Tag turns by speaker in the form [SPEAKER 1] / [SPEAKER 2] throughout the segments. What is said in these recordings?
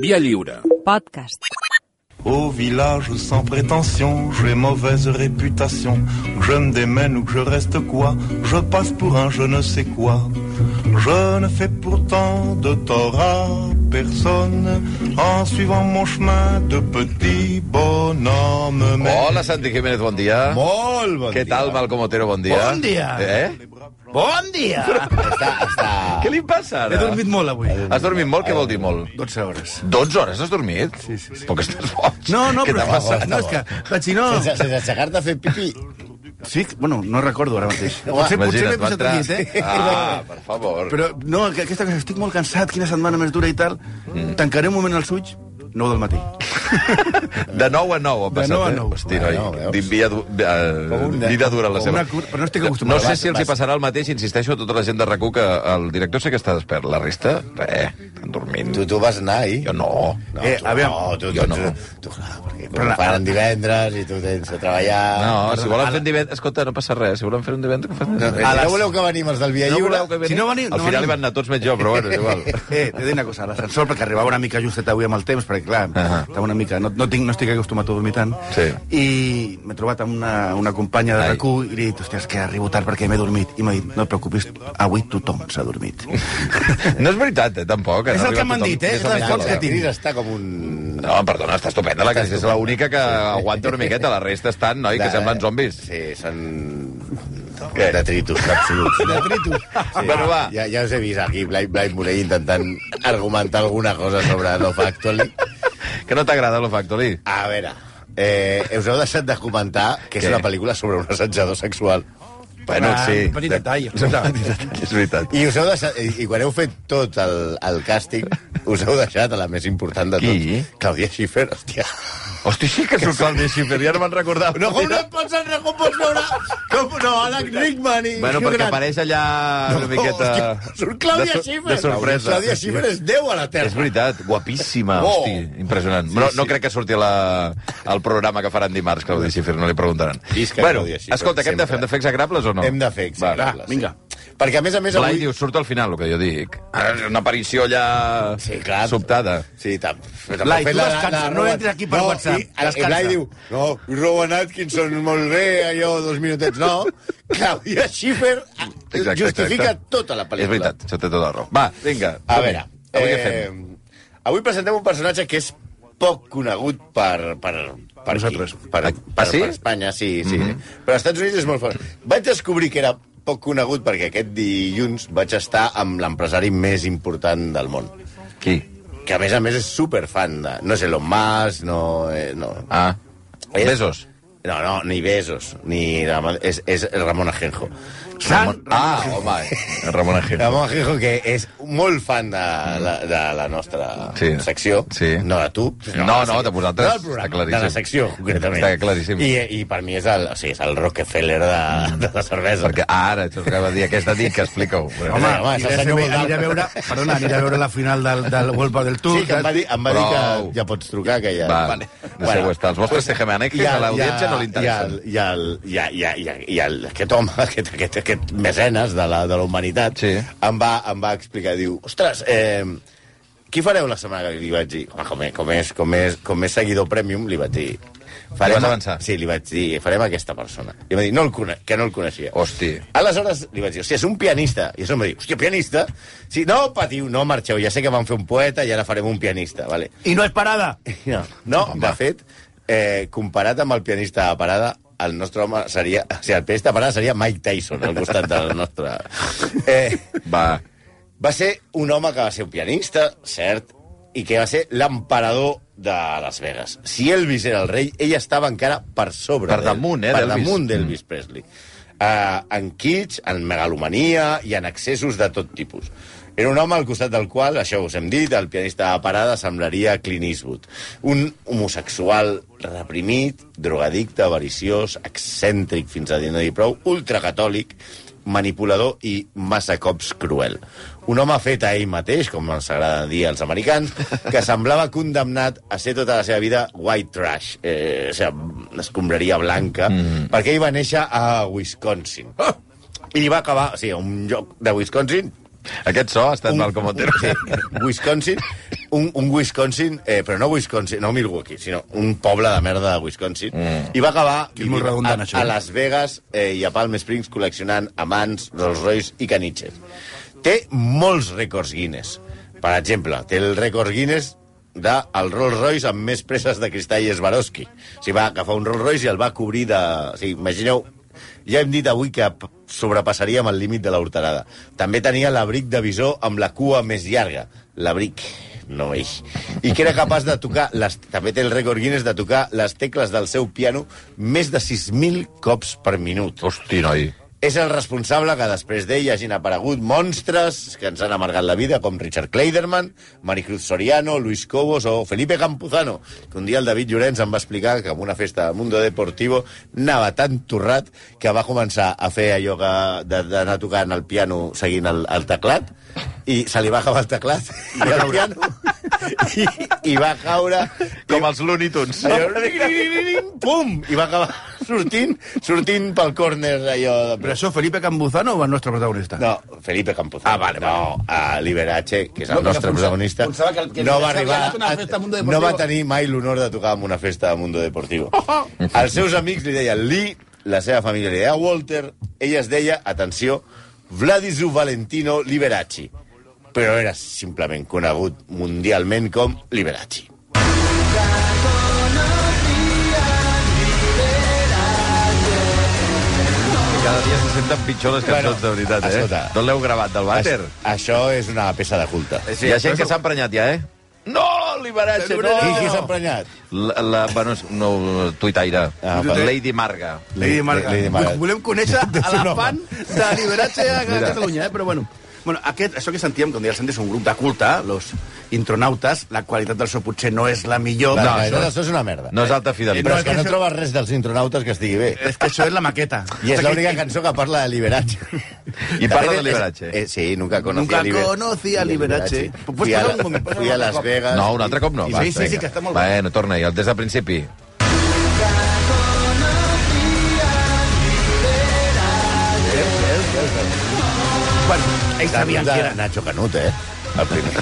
[SPEAKER 1] Via lliure.
[SPEAKER 2] Podcast.
[SPEAKER 3] Au village sans prétention, j'ai mauvaise réputation. Que je me démène ou que je reste quoi, je passe pour un je ne sais quoi. Je ne fais pourtant de tort à personne en suivant mon chemin de petit bonhomme. Mais
[SPEAKER 4] Hola, Santi Jiménez, bon dia.
[SPEAKER 5] Molt bon
[SPEAKER 4] Què
[SPEAKER 5] dia.
[SPEAKER 4] tal, Malcom Otero, bon dia.
[SPEAKER 5] Bon dia.
[SPEAKER 4] Eh?
[SPEAKER 5] Bon dia!
[SPEAKER 4] Està, està... Què li passa,
[SPEAKER 5] He
[SPEAKER 4] ara?
[SPEAKER 5] dormit molt avui.
[SPEAKER 4] Has dormit molt? Què vol dir molt?
[SPEAKER 5] 12 hores.
[SPEAKER 4] 12 hores has dormit? Sí, sí. sí. Però que estàs boig.
[SPEAKER 5] No, no,
[SPEAKER 4] Què t'ha
[SPEAKER 5] però és
[SPEAKER 4] passat?
[SPEAKER 5] que, no, és que vaig dir no...
[SPEAKER 6] Sense, sense aixecar-te a fer pipí.
[SPEAKER 5] Sí, bueno, no recordo ara mateix.
[SPEAKER 6] Home,
[SPEAKER 5] Potser, potser
[SPEAKER 4] Imagina't,
[SPEAKER 5] m'he posat
[SPEAKER 4] va entrar.
[SPEAKER 5] al llit, eh?
[SPEAKER 4] Ah, per favor.
[SPEAKER 5] Però no, que- aquesta cosa, estic molt cansat, quina setmana més dura i tal. Tancaré un moment els ulls, 9 del matí.
[SPEAKER 4] De 9 a 9 ha passat,
[SPEAKER 5] nou a
[SPEAKER 4] eh?
[SPEAKER 5] nou.
[SPEAKER 4] Hosti,
[SPEAKER 6] Ah, no,
[SPEAKER 4] noi,
[SPEAKER 6] veus?
[SPEAKER 4] d'invia du- de-
[SPEAKER 6] un
[SPEAKER 4] eh,
[SPEAKER 6] de-
[SPEAKER 4] vida dura la
[SPEAKER 5] com
[SPEAKER 4] seva.
[SPEAKER 5] una cur- però no estic acostumat.
[SPEAKER 4] No sé
[SPEAKER 5] Vas,
[SPEAKER 4] si els hi
[SPEAKER 6] vas.
[SPEAKER 4] passarà el mateix, insisteixo, a tota la gent de rac que el director sé que està despert. La resta, res, estan dormint.
[SPEAKER 6] Tu, tu vas anar ahir?
[SPEAKER 4] Jo no.
[SPEAKER 6] No,
[SPEAKER 5] Eh,
[SPEAKER 6] tu,
[SPEAKER 5] a veure,
[SPEAKER 6] no, tu, tu,
[SPEAKER 4] jo no.
[SPEAKER 6] Tu, tu, no, perquè
[SPEAKER 5] Però
[SPEAKER 6] com
[SPEAKER 5] la-
[SPEAKER 6] ho fan divendres i tu tens de treballar...
[SPEAKER 4] No,
[SPEAKER 5] ah,
[SPEAKER 4] si volen fer un divendres... Escolta, no passa res. Si volen fer un divendres, que facin...
[SPEAKER 6] A
[SPEAKER 5] eh,
[SPEAKER 6] la... No voleu que venim els del Via
[SPEAKER 4] No
[SPEAKER 6] Lliure?
[SPEAKER 4] voleu que veniu?
[SPEAKER 5] Si no veniu,
[SPEAKER 4] Al
[SPEAKER 5] no
[SPEAKER 4] final
[SPEAKER 5] veniu.
[SPEAKER 4] hi van anar tots menys jo, però bueno, és igual.
[SPEAKER 5] Eh, t'he de dir una cosa, a l'ascensor, perquè arribava una mica justet avui amb el temps, perquè, clar, uh
[SPEAKER 4] Ahà.
[SPEAKER 5] -huh. una mica... No, no, tinc, no estic acostumat a dormir tant.
[SPEAKER 4] Sí.
[SPEAKER 5] I m'he trobat amb una, una companya de
[SPEAKER 4] Ai.
[SPEAKER 5] rac i li he dit, hòstia, és que arribo tard perquè m'he dormit. I m'ha dit, no et preocupis, avui tothom s'ha dormit.
[SPEAKER 4] No és veritat, eh, tampoc.
[SPEAKER 5] És el que m'han dit, eh?
[SPEAKER 4] És el
[SPEAKER 5] Les
[SPEAKER 4] que
[SPEAKER 5] fonts
[SPEAKER 4] m'han
[SPEAKER 5] que
[SPEAKER 4] dit.
[SPEAKER 6] Tiris està com un...
[SPEAKER 4] No, perdona, està estupenda la Cris, és l'única que aguanta una miqueta, la resta estan, noi, que
[SPEAKER 6] De-
[SPEAKER 4] semblen zombis.
[SPEAKER 6] Sí, són...
[SPEAKER 4] Què?
[SPEAKER 6] Detritus, absoluts. Detritus.
[SPEAKER 4] Bueno, va.
[SPEAKER 6] Ja, ja us he vist aquí, Blai, Blai Morell, intentant argumentar alguna cosa sobre No Factually.
[SPEAKER 4] Que no t'agrada lo Factory?
[SPEAKER 6] A veure, eh, us heu deixat de comentar que és
[SPEAKER 4] Què?
[SPEAKER 6] una pel·lícula sobre un assetjador sexual.
[SPEAKER 4] Bueno,
[SPEAKER 5] Ah,
[SPEAKER 4] sí.
[SPEAKER 5] un petit detall, escolta.
[SPEAKER 4] Un petit detall, És veritat.
[SPEAKER 6] I, us heu deixat, i i quan heu fet tot el, el càsting, us heu deixat a la més important de tots.
[SPEAKER 4] Qui?
[SPEAKER 6] Claudia Schiffer, hòstia.
[SPEAKER 4] Hosti, sí que surt Claudia Schiffer, ja no me'n recordava.
[SPEAKER 6] No, com no et pots, en- com pots veure... Com, no, Alec Rickman i...
[SPEAKER 4] Bueno,
[SPEAKER 6] Hugh
[SPEAKER 4] perquè
[SPEAKER 6] Grant.
[SPEAKER 4] apareix allà una miqueta...
[SPEAKER 6] hòstia, surt Claudia
[SPEAKER 4] de, sor-
[SPEAKER 6] Schiffer.
[SPEAKER 4] De sorpresa.
[SPEAKER 6] Claudia Schiffer és Déu a la Terra.
[SPEAKER 4] És veritat, guapíssima,
[SPEAKER 6] Oh.
[SPEAKER 4] hosti, impressionant. No, no crec que surti a la, al programa que faran dimarts, Claudi Schiffer, no li preguntaran.
[SPEAKER 6] Visca
[SPEAKER 4] bueno,
[SPEAKER 6] Claudia Schiffer,
[SPEAKER 4] escolta, què hem de fer?
[SPEAKER 6] sempre.
[SPEAKER 4] Hem de fer exagrables o no?
[SPEAKER 6] Hem de fer
[SPEAKER 4] Va,
[SPEAKER 6] exagrables.
[SPEAKER 5] vinga.
[SPEAKER 6] Sí. Perquè, a més a més,
[SPEAKER 4] Blai
[SPEAKER 6] avui...
[SPEAKER 4] diu, surt al final, el que jo dic. Ah, és Una aparició allà
[SPEAKER 6] Sí, clar.
[SPEAKER 4] sobtada.
[SPEAKER 6] Sí, tam.
[SPEAKER 5] Blai, tu descansa, no entris aquí per WhatsApp,
[SPEAKER 6] I, el
[SPEAKER 5] descansa.
[SPEAKER 6] Blai diu, no, Rowan Atkinson, molt bé, allò, dos minutets. No, Claudia Schiffer ah,
[SPEAKER 4] Exacte,
[SPEAKER 6] justifica
[SPEAKER 4] exacte.
[SPEAKER 6] tota la
[SPEAKER 4] És
[SPEAKER 6] pel·lícula.
[SPEAKER 4] veritat, això té tota la raó. Va, vinga.
[SPEAKER 6] A
[SPEAKER 4] som-hi.
[SPEAKER 6] veure, eh,
[SPEAKER 4] Avui què fem?
[SPEAKER 6] Avui presentem un personatge que és poc conegut per... per per
[SPEAKER 5] Nosaltres.
[SPEAKER 6] Aquí, per,
[SPEAKER 4] Ah,
[SPEAKER 6] per, per,
[SPEAKER 4] sí? Mhm.
[SPEAKER 6] Espanya, sí, sí. Mm -hmm. Però als Estats Units és molt fort. Vaig descobrir que era poc conegut perquè aquest dilluns vaig estar amb l'empresari més important del món,
[SPEAKER 4] Qui?
[SPEAKER 6] que a més a més és superfan de... No és Elon Musk, no... Eh, no.
[SPEAKER 4] Ah,
[SPEAKER 6] És-
[SPEAKER 4] Besos.
[SPEAKER 6] No, no, ni Besos, ni... Ramon- És, és Ramon Ajenjo.
[SPEAKER 5] Sant...
[SPEAKER 4] Ah, home, Ramon Ajenjo.
[SPEAKER 6] Ramon Ajenjo, que és molt fan de la, de la nostra
[SPEAKER 4] Sí.
[SPEAKER 6] sí. secció.
[SPEAKER 4] Sí.
[SPEAKER 6] No de tu.
[SPEAKER 4] No,
[SPEAKER 6] de la
[SPEAKER 4] no, de
[SPEAKER 6] secció.
[SPEAKER 4] vosaltres.
[SPEAKER 6] No del programa,
[SPEAKER 4] Està claríssim.
[SPEAKER 6] de la secció, concretament.
[SPEAKER 4] Està claríssim.
[SPEAKER 6] I, I per mi és el, o sigui, és el Rockefeller de, de la cervesa.
[SPEAKER 4] Perquè ara, això que va dir aquesta nit, que explica-ho.
[SPEAKER 5] Home,
[SPEAKER 6] home,
[SPEAKER 5] aniré, a
[SPEAKER 6] s'ha
[SPEAKER 5] fer-
[SPEAKER 6] senyor Moldau.
[SPEAKER 5] aniré a veure, perdona, aniré a veure la final del, del World Cup del Tour.
[SPEAKER 6] Sí, que em va dir, em va dir
[SPEAKER 4] Prou.
[SPEAKER 6] que ja pots trucar, que ja...
[SPEAKER 4] Va, deixeu estar. Els vostres tejemanejes eh, a l'audiència no li interessen.
[SPEAKER 6] I el, i el, i el, i el, i el, aquest home, aquest, aquest, aquest mecenes de la, de la humanitat,
[SPEAKER 4] Sí.
[SPEAKER 6] em, va, em va explicar, diu, ostres, eh, qui fareu la setmana que ve?" li vaig dir? Home, com, és- com, és, com, és, com és seguidor premium, li vaig dir...
[SPEAKER 4] Li vas avançar?
[SPEAKER 6] Sí, li vaig dir, farem aquesta persona. I em va dir, no el cone que no el coneixia.
[SPEAKER 4] Hosti.
[SPEAKER 6] Aleshores li vaig dir, hòstia, és un pianista. I això em va dir, hòstia, pianista? Sí, no, patiu, no marxeu, ja sé que van fer un poeta i ara farem un pianista, vale.
[SPEAKER 5] I no és parada.
[SPEAKER 6] No, no de fet, eh, comparat amb el pianista de parada, el nostre home seria... O sigui, el pianista de parada seria Mike Tyson, al costat del nostre... Eh,
[SPEAKER 4] Va,
[SPEAKER 6] va ser un home que va ser un pianista, cert, i que va ser l'emperador de Las Vegas. Si Elvis era el rei, ell estava encara per sobre.
[SPEAKER 4] Per
[SPEAKER 6] d'ell,
[SPEAKER 4] damunt, eh,
[SPEAKER 6] Per
[SPEAKER 4] d'Elvis.
[SPEAKER 6] damunt d'Elvis Presley. Eh, en kitsch, en megalomania i en excessos de tot tipus. Era un home al costat del qual, això us hem dit, el pianista de parada semblaria Clint Eastwood. Un homosexual reprimit, drogadicte, avariciós, excèntric fins a dir no dir prou, ultracatòlic, manipulador i massa cops cruel. Un home fet a ell mateix, com ens agrada dir als americans, que semblava condemnat a ser tota la seva vida white trash, eh, o sigui, escombraria blanca, mm. perquè ell va néixer a Wisconsin. I va acabar, o sigui, a un lloc de Wisconsin
[SPEAKER 4] Aquest so ha estat mal com Otero.
[SPEAKER 6] Sí, Wisconsin, un, un Wisconsin, eh, però no Wisconsin, no Milwaukee, sinó un poble de merda de Wisconsin. Mm. I va acabar
[SPEAKER 5] és molt
[SPEAKER 6] vivint
[SPEAKER 5] redundant,
[SPEAKER 6] a,
[SPEAKER 5] això,
[SPEAKER 6] a
[SPEAKER 5] eh?
[SPEAKER 6] Las Vegas eh, i a Palm Springs col·leccionant amants, Rolls Royce i caniches. Té molts rècords Guinness. Per exemple, té el rècord Guinness del Rolls Royce amb més preses de cristall Swarovski. O sigui, va agafar un Rolls Royce i el va cobrir de... O sigui, imagineu, ja hem dit avui que p- sobrepassaríem el límit de la horterada. També tenia l'abric de visó amb la cua més llarga. L'abric, no eix. I que era capaç de tocar... Les, també té el rècord Guinness de tocar les tecles del seu piano més de 6.000 cops per minut.
[SPEAKER 4] Hosti, noi.
[SPEAKER 6] És el responsable que després d'ell hagin aparegut monstres que ens han amargat la vida, com Richard Kleiderman, Maricruz Soriano, Luis Cobos o Felipe Campuzano, que un dia el David Llorenç em va explicar que en una festa de Mundo Deportivo anava tan torrat que va començar a fer allò que de- d'anar tocant el piano seguint el, el teclat, i se li va acabar el teclat i el piano, i, i va caure... i-
[SPEAKER 4] Com els Looney Tunes.
[SPEAKER 6] Allò, pum! I va acabar sortint, sortint pel córner allò...
[SPEAKER 5] Però això, Felipe Cambuzano o el nostre protagonista?
[SPEAKER 6] No, Felipe Campuzano. Ah, vale, no, a Liberace, que és el
[SPEAKER 5] No,
[SPEAKER 6] no, nostre
[SPEAKER 5] pensava-
[SPEAKER 6] protagonista,
[SPEAKER 5] pensava que el que
[SPEAKER 6] no va
[SPEAKER 5] havia
[SPEAKER 6] arribar...
[SPEAKER 5] anat a una festa a Mundo
[SPEAKER 6] no va
[SPEAKER 5] Deportivo. Oh,
[SPEAKER 6] tenir mai l'honor de tocar en una festa de Mundo Deportivo. Els seus amics li deien Lee, la seva família li deia Walter, ella es deia, atenció, Vladisu Valentino Liberace, però era simplement conegut mundialment com Liberace.
[SPEAKER 4] Cada dia se senten pitjor les cançons,
[SPEAKER 6] Bueno,
[SPEAKER 4] de veritat, eh?
[SPEAKER 6] escolta.
[SPEAKER 4] D'on l'heu gravat, del vàter?
[SPEAKER 6] Això, això és una peça de culte.
[SPEAKER 4] Sí, Hi ha gent que s'ha emprenyat ja, eh? No, Liberatge, no!
[SPEAKER 6] Qui, qui s'ha emprenyat?
[SPEAKER 4] La, la, bueno, és- no, tuitaire.
[SPEAKER 6] Ah,
[SPEAKER 4] La Lady Marga.
[SPEAKER 5] Lady Marga.
[SPEAKER 6] Lady Marga.
[SPEAKER 5] Vull- Volem conèixer a la fan de lideratge a
[SPEAKER 4] Mira.
[SPEAKER 5] Catalunya, eh? però bueno. Bueno, aquest, això que sentíem, com deia el Santi, és un grup de culte, los intronautes, la qualitat del so potser no és la millor.
[SPEAKER 6] No,
[SPEAKER 5] però
[SPEAKER 6] això,
[SPEAKER 5] això,
[SPEAKER 6] això és una merda.
[SPEAKER 4] No és alta
[SPEAKER 6] Però
[SPEAKER 4] fidelitat.
[SPEAKER 6] és que no trobes res dels intronautes que estigui bé.
[SPEAKER 5] és que això Eh, és la maqueta.
[SPEAKER 6] I és l'única cançó que parla de liberatge.
[SPEAKER 4] I parla de
[SPEAKER 6] és-
[SPEAKER 4] Liberace.
[SPEAKER 6] Eh, sí, nunca conocí
[SPEAKER 5] Nunca
[SPEAKER 6] a Liberace.
[SPEAKER 5] conocí a Liberace. Pots
[SPEAKER 6] Fui a,
[SPEAKER 5] parar un moment, pots
[SPEAKER 6] fui a
[SPEAKER 5] parar un
[SPEAKER 6] Las
[SPEAKER 5] altre
[SPEAKER 6] Vegas.
[SPEAKER 4] No, un altre cop no.
[SPEAKER 6] I-
[SPEAKER 4] va,
[SPEAKER 5] sí, sí,
[SPEAKER 4] vinga.
[SPEAKER 5] sí, que està molt bé.
[SPEAKER 4] Bueno, torna-hi, el- des del principi.
[SPEAKER 5] Bueno, ells
[SPEAKER 6] Sabien
[SPEAKER 5] sabien
[SPEAKER 6] de
[SPEAKER 5] que era...
[SPEAKER 6] Nacho Canut, eh? El primer.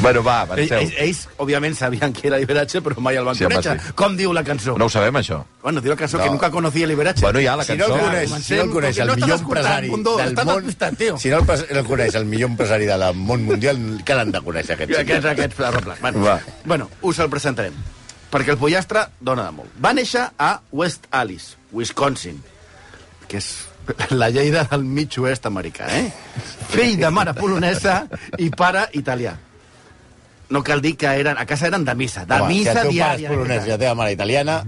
[SPEAKER 4] bueno, va,
[SPEAKER 5] Ells,
[SPEAKER 4] avanceu.
[SPEAKER 5] ells, ells, òbviament, sabien que era Liberace, però mai el van
[SPEAKER 4] Sí, home,
[SPEAKER 5] conèixer.
[SPEAKER 4] sí.
[SPEAKER 5] Com diu la cançó?
[SPEAKER 4] No ho sabem, això.
[SPEAKER 5] Bueno, diu la cançó que
[SPEAKER 6] No.
[SPEAKER 5] nunca conocí a Liberace.
[SPEAKER 4] Bueno, ja, la
[SPEAKER 6] Si no
[SPEAKER 4] cançó.
[SPEAKER 6] el
[SPEAKER 5] Pues
[SPEAKER 6] coneix, si no el coneix el
[SPEAKER 5] No estàs
[SPEAKER 6] millor
[SPEAKER 5] escoltant,
[SPEAKER 6] empresari
[SPEAKER 5] Mundo,
[SPEAKER 6] del
[SPEAKER 5] estàs
[SPEAKER 6] món...
[SPEAKER 5] despistat, tio.
[SPEAKER 6] Si no el, pres- el coneix el millor empresari del món mundial, que l'han de conèixer, aquest
[SPEAKER 5] Aquest, aquest,
[SPEAKER 6] senyor.
[SPEAKER 5] aquest pla, pla, pla. Bueno,
[SPEAKER 4] Va.
[SPEAKER 5] bueno, us el presentarem. Perquè el pollastre dona de molt. Va néixer a West Alice, Wisconsin, que és la lleida del mig oest americà, eh? Fill de mare polonesa i pare italià. No cal dir que eren, a casa eren de missa, de
[SPEAKER 6] Home, si
[SPEAKER 5] missa
[SPEAKER 6] el teu pare
[SPEAKER 5] diària.
[SPEAKER 6] és polonès i la teva mare italiana,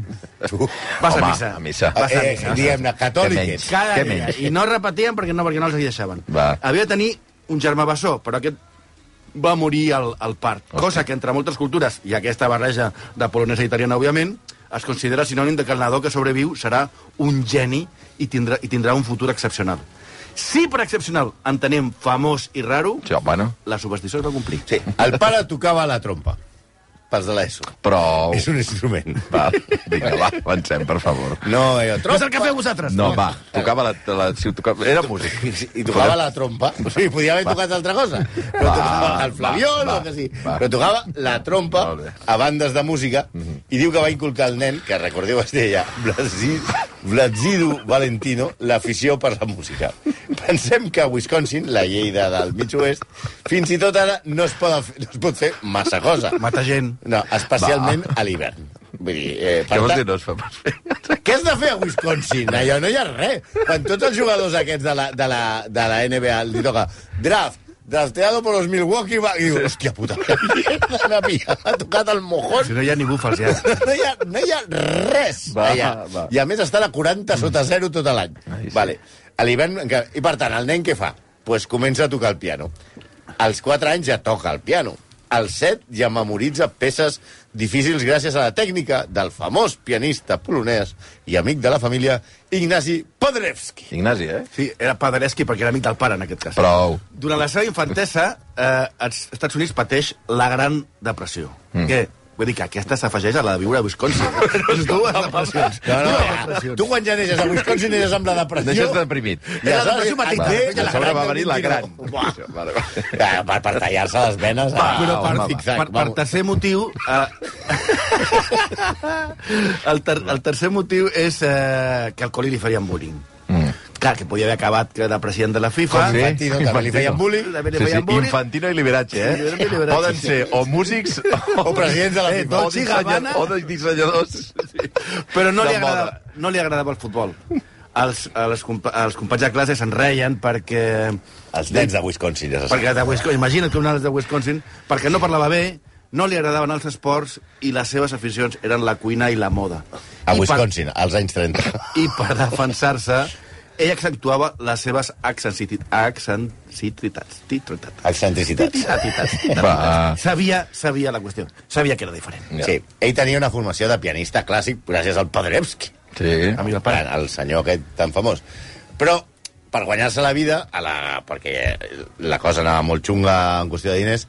[SPEAKER 6] tu...
[SPEAKER 5] Vas
[SPEAKER 4] Home,
[SPEAKER 5] a missa.
[SPEAKER 4] a missa.
[SPEAKER 5] Vas a
[SPEAKER 6] Eh,
[SPEAKER 5] missa.
[SPEAKER 6] Diguem-ne,
[SPEAKER 4] Què
[SPEAKER 6] catòlic
[SPEAKER 4] menys?
[SPEAKER 6] ets.
[SPEAKER 5] Cada
[SPEAKER 4] Què
[SPEAKER 5] dia.
[SPEAKER 4] menys?
[SPEAKER 5] I no repetien perquè no, perquè no els hi deixaven.
[SPEAKER 4] Va.
[SPEAKER 5] Havia de tenir un germà bessó, però aquest va morir al, al part. Cosa que entre moltes cultures, i aquesta barreja de polonesa i italiana, òbviament, es considera sinònim de que el nadó que sobreviu serà un geni i tindrà, i tindrà un futur excepcional. Si per excepcional entenem famós i raro,
[SPEAKER 4] Sí, bueno,
[SPEAKER 5] la superstició es va complir.
[SPEAKER 6] Sí, el pare tocava la trompa, pels de l'ESO.
[SPEAKER 4] però...
[SPEAKER 6] És un instrument.
[SPEAKER 4] Va, vinga, va, avancem, per favor.
[SPEAKER 6] No,
[SPEAKER 5] No
[SPEAKER 6] eh,
[SPEAKER 5] és el
[SPEAKER 6] trompa.
[SPEAKER 5] que feu vosaltres.
[SPEAKER 4] No, va, tocava la... la, si ho tocava, era músic.
[SPEAKER 6] I tocava la trompa. O sigui, podia haver tocat altra cosa. Però
[SPEAKER 4] Va,
[SPEAKER 6] tocava el
[SPEAKER 4] va,
[SPEAKER 6] flaviol
[SPEAKER 4] va,
[SPEAKER 6] o que sí.
[SPEAKER 4] va.
[SPEAKER 6] Però tocava la trompa
[SPEAKER 4] Molt bé.
[SPEAKER 6] a bandes de música i diu que va inculcar al nen, que recordeu es deia Blasi- Blasidu Valentino, l'afició per la música. Pensem que a Wisconsin, la lleida del mig oest, fins i tot ara no es, poden, fer- no es pot fer massa cosa.
[SPEAKER 5] Mata gent.
[SPEAKER 6] No, especialment a l'hivern. Vull dir, eh,
[SPEAKER 4] Què vols
[SPEAKER 6] tant-
[SPEAKER 4] dir, no es fa pas bé?
[SPEAKER 6] què has de fer a Wisconsin? Allò no hi ha res. Quan tots els jugadors aquests de la, de la, de la NBA li toca draft, drafteado por los Milwaukee Bucks. I diu, hòstia puta, la pilla, ha tocat el mojón.
[SPEAKER 5] Si no hi ha ni búfals, ja.
[SPEAKER 6] No hi ha, no hi ha res
[SPEAKER 4] Va,
[SPEAKER 6] allà.
[SPEAKER 4] va.
[SPEAKER 6] I a més estan a 40 sota 0 tot l'any.
[SPEAKER 4] Ai, sí.
[SPEAKER 6] Vale. A l'hivern... encara- I per tant, el nen què fa? pues comença a tocar el piano. Als 4 anys ja toca el piano. Als 7 ja memoritza peces difícils gràcies a la tècnica del famós pianista polonès i amic de la família Ignasi Podrevski.
[SPEAKER 4] Ignasi, eh?
[SPEAKER 5] Sí, era Paderewski perquè era amic del pare, en aquest cas.
[SPEAKER 4] Prou.
[SPEAKER 5] Durant la seva infantesa, eh, als Estats Units pateix la Gran Depressió, mm. que Vull dir que aquesta s'afegeix a la de viure a Wisconsin. Les dues depressions.
[SPEAKER 6] No, no,
[SPEAKER 5] Dues
[SPEAKER 6] ja.
[SPEAKER 5] depressions.
[SPEAKER 6] tu quan ja neixes a Wisconsin neixes amb la depressió...
[SPEAKER 4] Deixes deprimit. ah,
[SPEAKER 5] Era
[SPEAKER 6] I
[SPEAKER 5] la
[SPEAKER 6] aleshores-
[SPEAKER 5] depressió maligna.
[SPEAKER 6] Ai,
[SPEAKER 5] Veia
[SPEAKER 4] a
[SPEAKER 5] la
[SPEAKER 4] sobre
[SPEAKER 5] gran
[SPEAKER 4] va
[SPEAKER 5] del
[SPEAKER 4] venir la
[SPEAKER 5] 29.
[SPEAKER 4] gran. Això, Vale, vale.
[SPEAKER 6] Ah, per, per tallar-se les venes...
[SPEAKER 5] Va,
[SPEAKER 6] ah,
[SPEAKER 5] però per,
[SPEAKER 6] home,
[SPEAKER 5] per,
[SPEAKER 6] zigzag,
[SPEAKER 5] per, per
[SPEAKER 6] vamos.
[SPEAKER 5] tercer motiu... Eh, el, ter, el tercer motiu és eh, que al col·li li farien bullying. Mm. Clar, que podia haver acabat que era president de la FIFA.
[SPEAKER 6] Com Infantino, també li feien bullying.
[SPEAKER 5] També li
[SPEAKER 4] Sí, sí,
[SPEAKER 5] feien bullying.
[SPEAKER 4] Infantino i Liberatge, eh?
[SPEAKER 5] Sí, Liberace,
[SPEAKER 4] Poden
[SPEAKER 5] sí.
[SPEAKER 4] ser o músics o,
[SPEAKER 6] O presidents de la
[SPEAKER 4] Eh,
[SPEAKER 6] FIFA.
[SPEAKER 4] o, dissenyadors,
[SPEAKER 5] Gabbana.
[SPEAKER 4] o de dissenyadors.
[SPEAKER 5] Però no li,
[SPEAKER 4] de moda.
[SPEAKER 5] agrada, no li agradava el futbol. Els, els, compa els companys de classe se'n reien perquè...
[SPEAKER 6] Els nens de Wisconsin, ja se sap.
[SPEAKER 5] perquè de Wisconsin, imagina't que un dels de Wisconsin, perquè no parlava bé, no li agradaven els esports i les seves aficions eren la cuina i la moda.
[SPEAKER 6] A
[SPEAKER 5] I per-
[SPEAKER 6] Wisconsin, als anys 30.
[SPEAKER 5] i per defensar-se ell accentuava les seves accensitit- accensitritats. Titritats.
[SPEAKER 6] Excentricitats.
[SPEAKER 4] Va.
[SPEAKER 5] Titritats. Sabia, sabia la qüestió. Sabia que era diferent.
[SPEAKER 4] Ja.
[SPEAKER 6] Sí, ell tenia una formació de pianista clàssic gràcies al Padrevski.
[SPEAKER 4] Sí.
[SPEAKER 5] A mi el pare.
[SPEAKER 6] El senyor aquest tan famós. Però per guanyar-se la vida, a la, perquè la cosa anava molt xunga en qüestió de diners,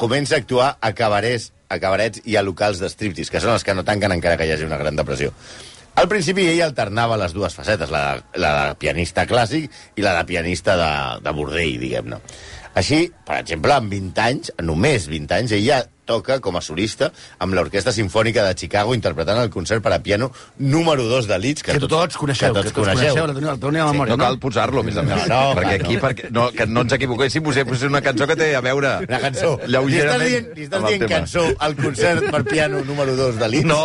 [SPEAKER 6] comença a actuar a cabarets, a cabarets i a locals de striptease, que són els que no tanquen encara que hi hagi una gran depressió. Al principi ell alternava les dues facetes, la, la de pianista clàssic i la de pianista de, de bordell, diguem-ne. Així, per exemple, amb 20 anys, només 20 anys, ell ja toca com a solista amb l'Orquestra Simfònica de Chicago interpretant el concert per a piano número 2 de Leeds, que,
[SPEAKER 5] Que tots coneixeu,
[SPEAKER 6] que tots coneixeu.
[SPEAKER 5] la teniu, la teniu a memòria,
[SPEAKER 4] No cal posar-lo, a més a més.
[SPEAKER 6] No, no,
[SPEAKER 4] perquè
[SPEAKER 6] clar,
[SPEAKER 4] aquí,
[SPEAKER 6] no.
[SPEAKER 4] perquè, no, que no ens equivoquéssim, us he posat una cançó que té a veure...
[SPEAKER 6] Una cançó. Li estàs
[SPEAKER 4] Lleugerament.
[SPEAKER 6] dient, li estàs
[SPEAKER 4] amb el
[SPEAKER 6] dient
[SPEAKER 4] tema.
[SPEAKER 6] cançó al concert per piano número 2 de Leeds?
[SPEAKER 4] No!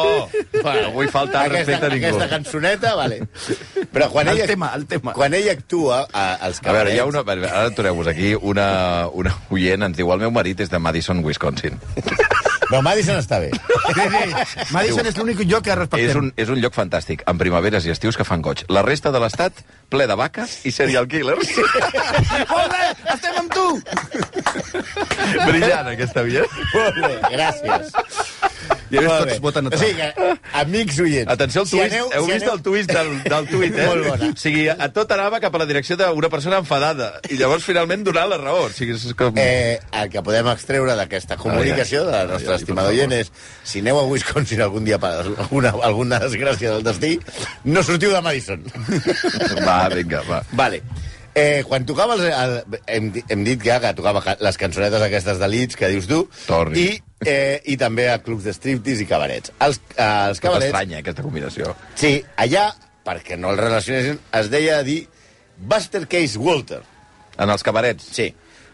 [SPEAKER 4] No vull faltar
[SPEAKER 6] Aquesta-
[SPEAKER 4] respecte a ningú.
[SPEAKER 6] Aquesta cançoneta, vale. Però quan
[SPEAKER 5] El
[SPEAKER 6] ell,
[SPEAKER 5] tema, el tema.
[SPEAKER 6] Quan ell actua a, als
[SPEAKER 4] A veure,
[SPEAKER 6] cabarets...
[SPEAKER 4] hi ha una... Ara atureu-vos aquí. Una, una oient ens diu el meu marit és de Madison, Wisconsin.
[SPEAKER 6] Però Madison està bé.
[SPEAKER 5] Sí, sí. Madison és l'únic lloc que respectem.
[SPEAKER 4] És un, és un lloc fantàstic, amb primaveres i estius que fan goig. La resta de l'estat, ple de vaques i serial killers.
[SPEAKER 5] Molt bé, estem amb tu!
[SPEAKER 4] Brillant, aquesta via.
[SPEAKER 6] Molt bé, gràcies.
[SPEAKER 5] I a més
[SPEAKER 6] Molt
[SPEAKER 5] tots
[SPEAKER 6] bé.
[SPEAKER 5] voten a
[SPEAKER 6] O sigui que, amics oients...
[SPEAKER 4] Atenció al
[SPEAKER 6] si
[SPEAKER 4] twist.
[SPEAKER 6] aneu-
[SPEAKER 4] Heu
[SPEAKER 6] si
[SPEAKER 4] vist
[SPEAKER 6] aneu-
[SPEAKER 4] el twist del, del tuit, eh?
[SPEAKER 6] Molt bona.
[SPEAKER 4] O sigui, a tot anava cap a la direcció d'una persona enfadada. I llavors, finalment, donar la raó. O sigui, és com...
[SPEAKER 6] Eh, el que podem extreure d'aquesta comunicació de la nostra
[SPEAKER 4] Ai, ai,
[SPEAKER 6] estimada
[SPEAKER 4] per favor.
[SPEAKER 6] oient és si aneu a Wisconsin algun dia per alguna, alguna desgràcia del destí, no sortiu de Madison.
[SPEAKER 4] Va, vinga, va.
[SPEAKER 6] Vale. Eh, quan tocava els, el, hem, di- hem dit ja que tocava ca- les cançonetes aquestes de Leeds que dius tu
[SPEAKER 4] Torri.
[SPEAKER 6] i eh, i també a clubs de striptease i cabarets. Els, eh, els
[SPEAKER 4] Que
[SPEAKER 6] cabarets,
[SPEAKER 4] Tota estranya, aquesta combinació.
[SPEAKER 6] sí, allà, perquè no el relacionessin, es deia dir Buster Case Walter.
[SPEAKER 4] En els cabarets.
[SPEAKER 6] Sí,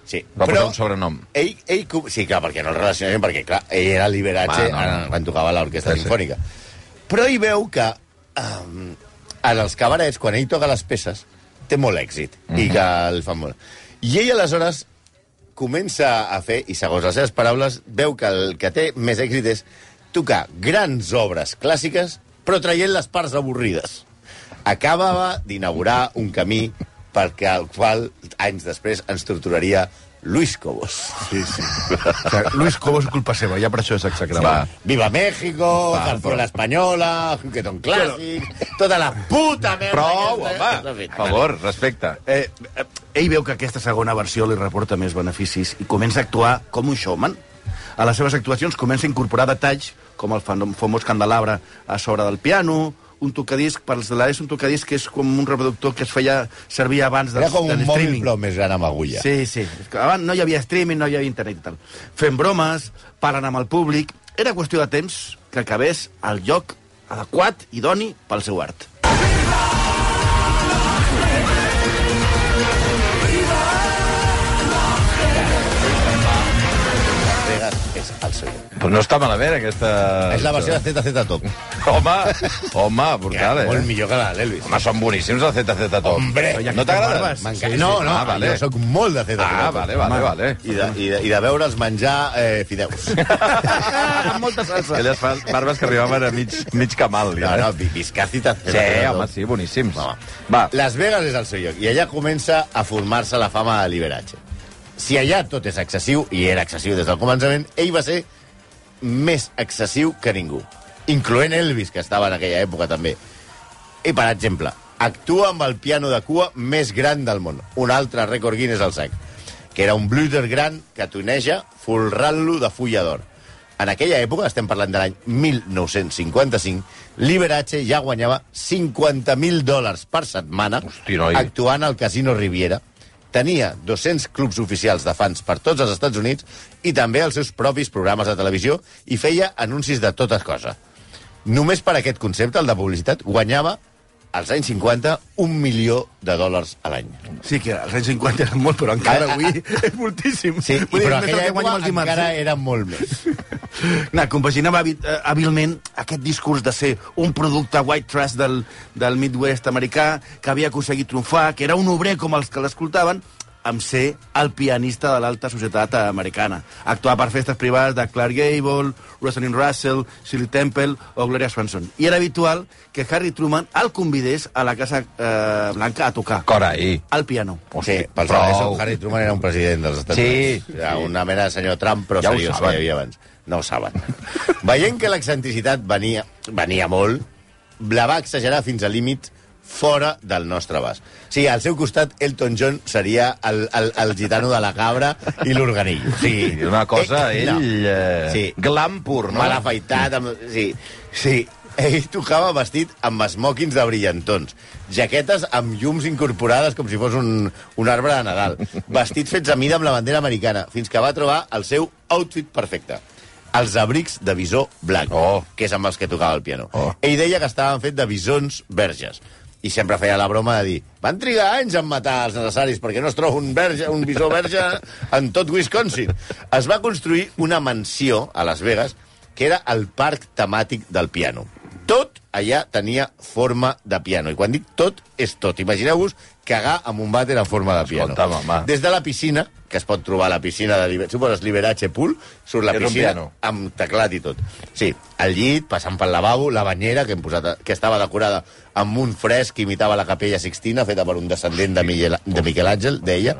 [SPEAKER 6] sí.
[SPEAKER 4] Va posar un sobrenom.
[SPEAKER 6] Ell, ell, com- sí, clar, perquè no el relacionem, perquè clar, ell era liberatge
[SPEAKER 4] Va, no, Ah, no.
[SPEAKER 6] en- quan tocava l'orquestra
[SPEAKER 4] Sí, sí.
[SPEAKER 6] sinfònica. Però ell veu que um, en els cabarets, quan ell toca les peces, té molt èxit
[SPEAKER 4] Mhm.
[SPEAKER 6] i que el fan molt. I ell aleshores comença a fer, i segons les seves paraules, veu que el que té més èxit és tocar grans obres clàssiques, però traient les parts avorrides. Acabava d'inaugurar un camí perquè el qual, anys després, ens torturaria Luis Cobos.
[SPEAKER 5] Sí, sí. O sigui, Luis Cobos és culpa seva, ja per això és
[SPEAKER 4] Va.
[SPEAKER 5] execrable.
[SPEAKER 6] Viva México, Zarzuela Española, Juguetón Clàssic, tota la puta merda...
[SPEAKER 4] Prou,
[SPEAKER 6] que-
[SPEAKER 4] home! Per favor, respecte.
[SPEAKER 5] Eh, eh, ell veu que aquesta segona versió li reporta més beneficis i comença a actuar com un showman. A les seves actuacions comença a incorporar detalls com el fan- famós candelabre a sobre del piano, un tocadisc, per als de l'ES, un tocadisc que és com un reproductor que es feia servir abans del,
[SPEAKER 6] Era com
[SPEAKER 5] del
[SPEAKER 6] un mòbil,
[SPEAKER 5] streaming.
[SPEAKER 6] però més gran amb agulla.
[SPEAKER 5] Sí, sí. És que Abans no hi havia streaming, no hi havia internet i tal. Fent bromes, parlant amb el públic... Era qüestió de temps que acabés al lloc adequat i doni pel seu art.
[SPEAKER 6] És el seu.
[SPEAKER 4] Però no està malament, aquesta...
[SPEAKER 6] És la versió de ZZ Top.
[SPEAKER 4] Home, home, brutal, eh?
[SPEAKER 6] Molt millor que la de l'Elvis.
[SPEAKER 4] Home, són boníssims els ZZ Top.
[SPEAKER 6] Hombre,
[SPEAKER 4] no t'agrada?
[SPEAKER 5] barbes.
[SPEAKER 6] M'encanta.
[SPEAKER 5] Sí, sí.
[SPEAKER 6] No, no,
[SPEAKER 4] Ah, vale.
[SPEAKER 6] jo sóc molt de ZZ
[SPEAKER 4] Ah, vale, vale, vale.
[SPEAKER 6] I de, i de, i de veure'ls menjar eh, fideus.
[SPEAKER 5] Amb molta salsa.
[SPEAKER 4] Aquelles fa- Ah, barbes que arribaven a mig, mig camal,
[SPEAKER 6] No,
[SPEAKER 4] ja.
[SPEAKER 6] no, vi- Viscaci t'ha fet
[SPEAKER 4] Sí,
[SPEAKER 6] el
[SPEAKER 4] home,
[SPEAKER 6] tot.
[SPEAKER 4] sí, boníssims.
[SPEAKER 6] Home.
[SPEAKER 4] Va,
[SPEAKER 6] Las Vegas és el seu lloc, i allà comença a formar-se la fama de Liberace. Si allà tot és excessiu, i era excessiu des del començament, ell va ser més excessiu que ningú, incloent Elvis, que estava en aquella època també. I, per exemple, actua amb el piano de cua més gran del món, un altre rècord Guinness al sac, que era un blüter gran que tuneja folrant-lo de fulla d'or. En aquella època, estem parlant de l'any 1955, Liberace ja guanyava 50.000 dòlars per setmana
[SPEAKER 4] Hosti, noi.
[SPEAKER 6] actuant al Casino Riviera. Tenia 200 clubs oficials de fans per tots els Estats Units i també els seus propis programes de televisió i feia anuncis de totes coses. Només per aquest concepte, el de publicitat, guanyava als anys 50 un milió de dòlars a l'any.
[SPEAKER 5] Sí que als anys 50 era molt, però encara
[SPEAKER 6] Ah, ah,
[SPEAKER 5] avui és moltíssim.
[SPEAKER 6] Sí,
[SPEAKER 5] Vull dir,
[SPEAKER 6] però
[SPEAKER 5] és més del
[SPEAKER 6] aquella
[SPEAKER 5] que guanyem
[SPEAKER 6] època
[SPEAKER 5] els dimarts.
[SPEAKER 6] encara era molt més.
[SPEAKER 5] Na, compaginava hàbil- eh, hàbilment aquest discurs de ser un producte white trash del, del Midwest americà, que havia aconseguit triomfar, que era un obrer com els que l'escoltaven, amb ser el pianista de l'alta societat americana. Actuava per festes privades de Clark Gable, Rosalind Russell, Shirley Temple o Gloria Swanson. I era habitual que Harry Truman el convidés a la Casa eh, Blanca a tocar.
[SPEAKER 4] Corai.
[SPEAKER 5] Al piano.
[SPEAKER 6] Hosti, sí, pels
[SPEAKER 4] prou.
[SPEAKER 6] Prou. Harry Truman era un president dels Estats
[SPEAKER 4] Sí,
[SPEAKER 6] Units. Era una mena de senyor Trump, però
[SPEAKER 4] Ja ho
[SPEAKER 6] seriós,
[SPEAKER 4] saben.
[SPEAKER 6] que hi havia abans. No ho saben. Veient que l'excentricitat venia, venia molt, la va exagerar fins al límit fora del nostre abast. Sí, al seu costat, Elton John seria el, el, el gitano de la cabra i l'organill. Sí,
[SPEAKER 4] Una cosa, ell... Eh,
[SPEAKER 6] Sí.
[SPEAKER 4] Glam pur, no?
[SPEAKER 6] mal afaitat, amb... sí, sí. Ell tocava vestit amb esmòquins de brillantons, jaquetes amb llums incorporades com si fos un, un arbre de Nadal, vestits fets a mida amb la bandera americana, fins que va trobar el seu outfit perfecte els abrics de visó blanc,
[SPEAKER 4] Oh.
[SPEAKER 6] que és amb els que tocava el piano.
[SPEAKER 4] Oh.
[SPEAKER 6] Ell deia que estaven fets de bisons verges, i sempre feia la broma de dir van trigar anys en matar els necessaris perquè no es troba un, verge, un bisó verge en tot Wisconsin. Es va construir una mansió a Las Vegas que era el parc temàtic del piano. Tot allà tenia forma de piano. I quan dic tot, és tot. Imagineu-vos cagar amb un vàter en forma de piano.
[SPEAKER 4] Escolta, mamà.
[SPEAKER 6] Des de la piscina, que es pot trobar a la piscina de Liber... Suposes Liberace Pool, surt la
[SPEAKER 4] Era un
[SPEAKER 6] piscina
[SPEAKER 4] piano.
[SPEAKER 6] amb teclat i tot. Sí, el llit, passant pel lavabo, la banyera, que, hem posat, que estava decorada amb un fresc que imitava la capella Sixtina, feta per un descendent de, Miguel, de Miquel Àngel, deia.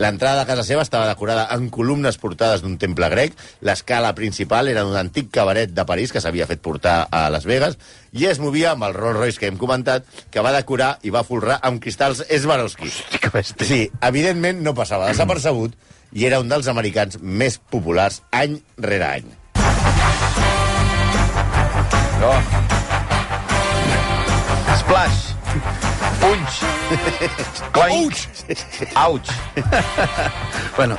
[SPEAKER 6] L'entrada de casa seva estava decorada en columnes portades d'un temple grec, l'escala principal era d'un antic cabaret de París que s'havia fet portar a Las Vegas, i es movia amb el Rolls Royce que hem comentat, que va decorar i va folrar amb cristals Swarovski.
[SPEAKER 4] que bèstia.
[SPEAKER 6] Sí, evidentment no passava desapercebut i era un dels americans més populars any rere any.
[SPEAKER 4] No. Splash. Punx. Clank. Ouch.
[SPEAKER 5] Bueno,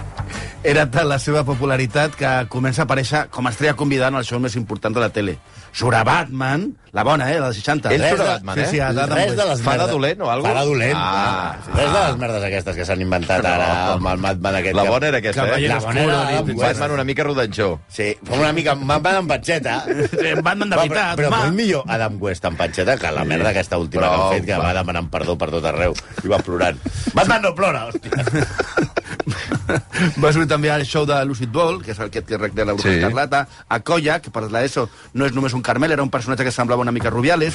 [SPEAKER 5] era tal la seva popularitat que comença a aparèixer com a estrella convidada en el show més important de la tele. Surt a Batman, la bona, eh, la dels 60.
[SPEAKER 4] Ell
[SPEAKER 5] Res
[SPEAKER 4] surt a
[SPEAKER 5] de-
[SPEAKER 4] Batman, eh?
[SPEAKER 5] sí, sí, a Adam
[SPEAKER 6] Res de
[SPEAKER 5] West.
[SPEAKER 6] les
[SPEAKER 4] Fa de
[SPEAKER 6] merdes-
[SPEAKER 4] dolent o algo?
[SPEAKER 6] Fa de dolent.
[SPEAKER 4] Ah.
[SPEAKER 6] Ah, Res de les merdes aquestes que s'han inventat ara
[SPEAKER 4] No.
[SPEAKER 6] amb el Batman aquest.
[SPEAKER 4] La
[SPEAKER 6] que-
[SPEAKER 4] bona era aquesta, eh?
[SPEAKER 6] La bona era
[SPEAKER 5] Batman
[SPEAKER 6] Adam West.
[SPEAKER 4] Batman una mica rodanxó.
[SPEAKER 6] Sí, com una mica amb Batman amb panxeta.
[SPEAKER 5] Eh, Batman de
[SPEAKER 6] Va,
[SPEAKER 5] veritat,
[SPEAKER 6] però,
[SPEAKER 5] home.
[SPEAKER 6] però molt millor Adam West amb panxeta que la merda aquesta última
[SPEAKER 4] Però,
[SPEAKER 6] que han fet, que
[SPEAKER 4] va.
[SPEAKER 6] va demanant perdó per tot arreu i va plorant. Batman no plora, hòstia.
[SPEAKER 5] Va sortir també al show de Lucid Ball, que és aquest que rec de la Bruja
[SPEAKER 4] Sí.
[SPEAKER 5] sí. Escarlata, a Colla, que per l'ESO no és només un Carmel, era un personatge que semblava una mica Rubiales,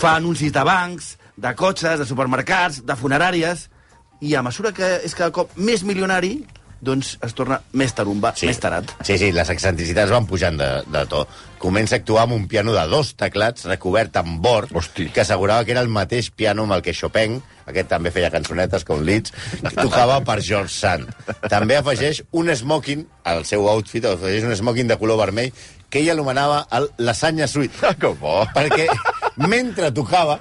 [SPEAKER 5] fa anuncis de bancs, de cotxes, de supermercats, de funeràries, i a mesura que és cada cop més milionari, doncs es torna més tarumba, sí. més tarat.
[SPEAKER 6] Sí, sí, les excentricitats van pujant de, de to. Comença a actuar amb un piano de dos teclats recobert amb bord,
[SPEAKER 4] Hosti.
[SPEAKER 6] que assegurava que era el mateix piano amb el que Chopin, aquest també feia cançonetes com Leeds, que tocava per George Sand. També afegeix un smoking al seu outfit, afegeix un smoking de color vermell, que ell anomenava el Lasagna Suite.
[SPEAKER 4] Ah, que bo.
[SPEAKER 6] Perquè mentre tocava,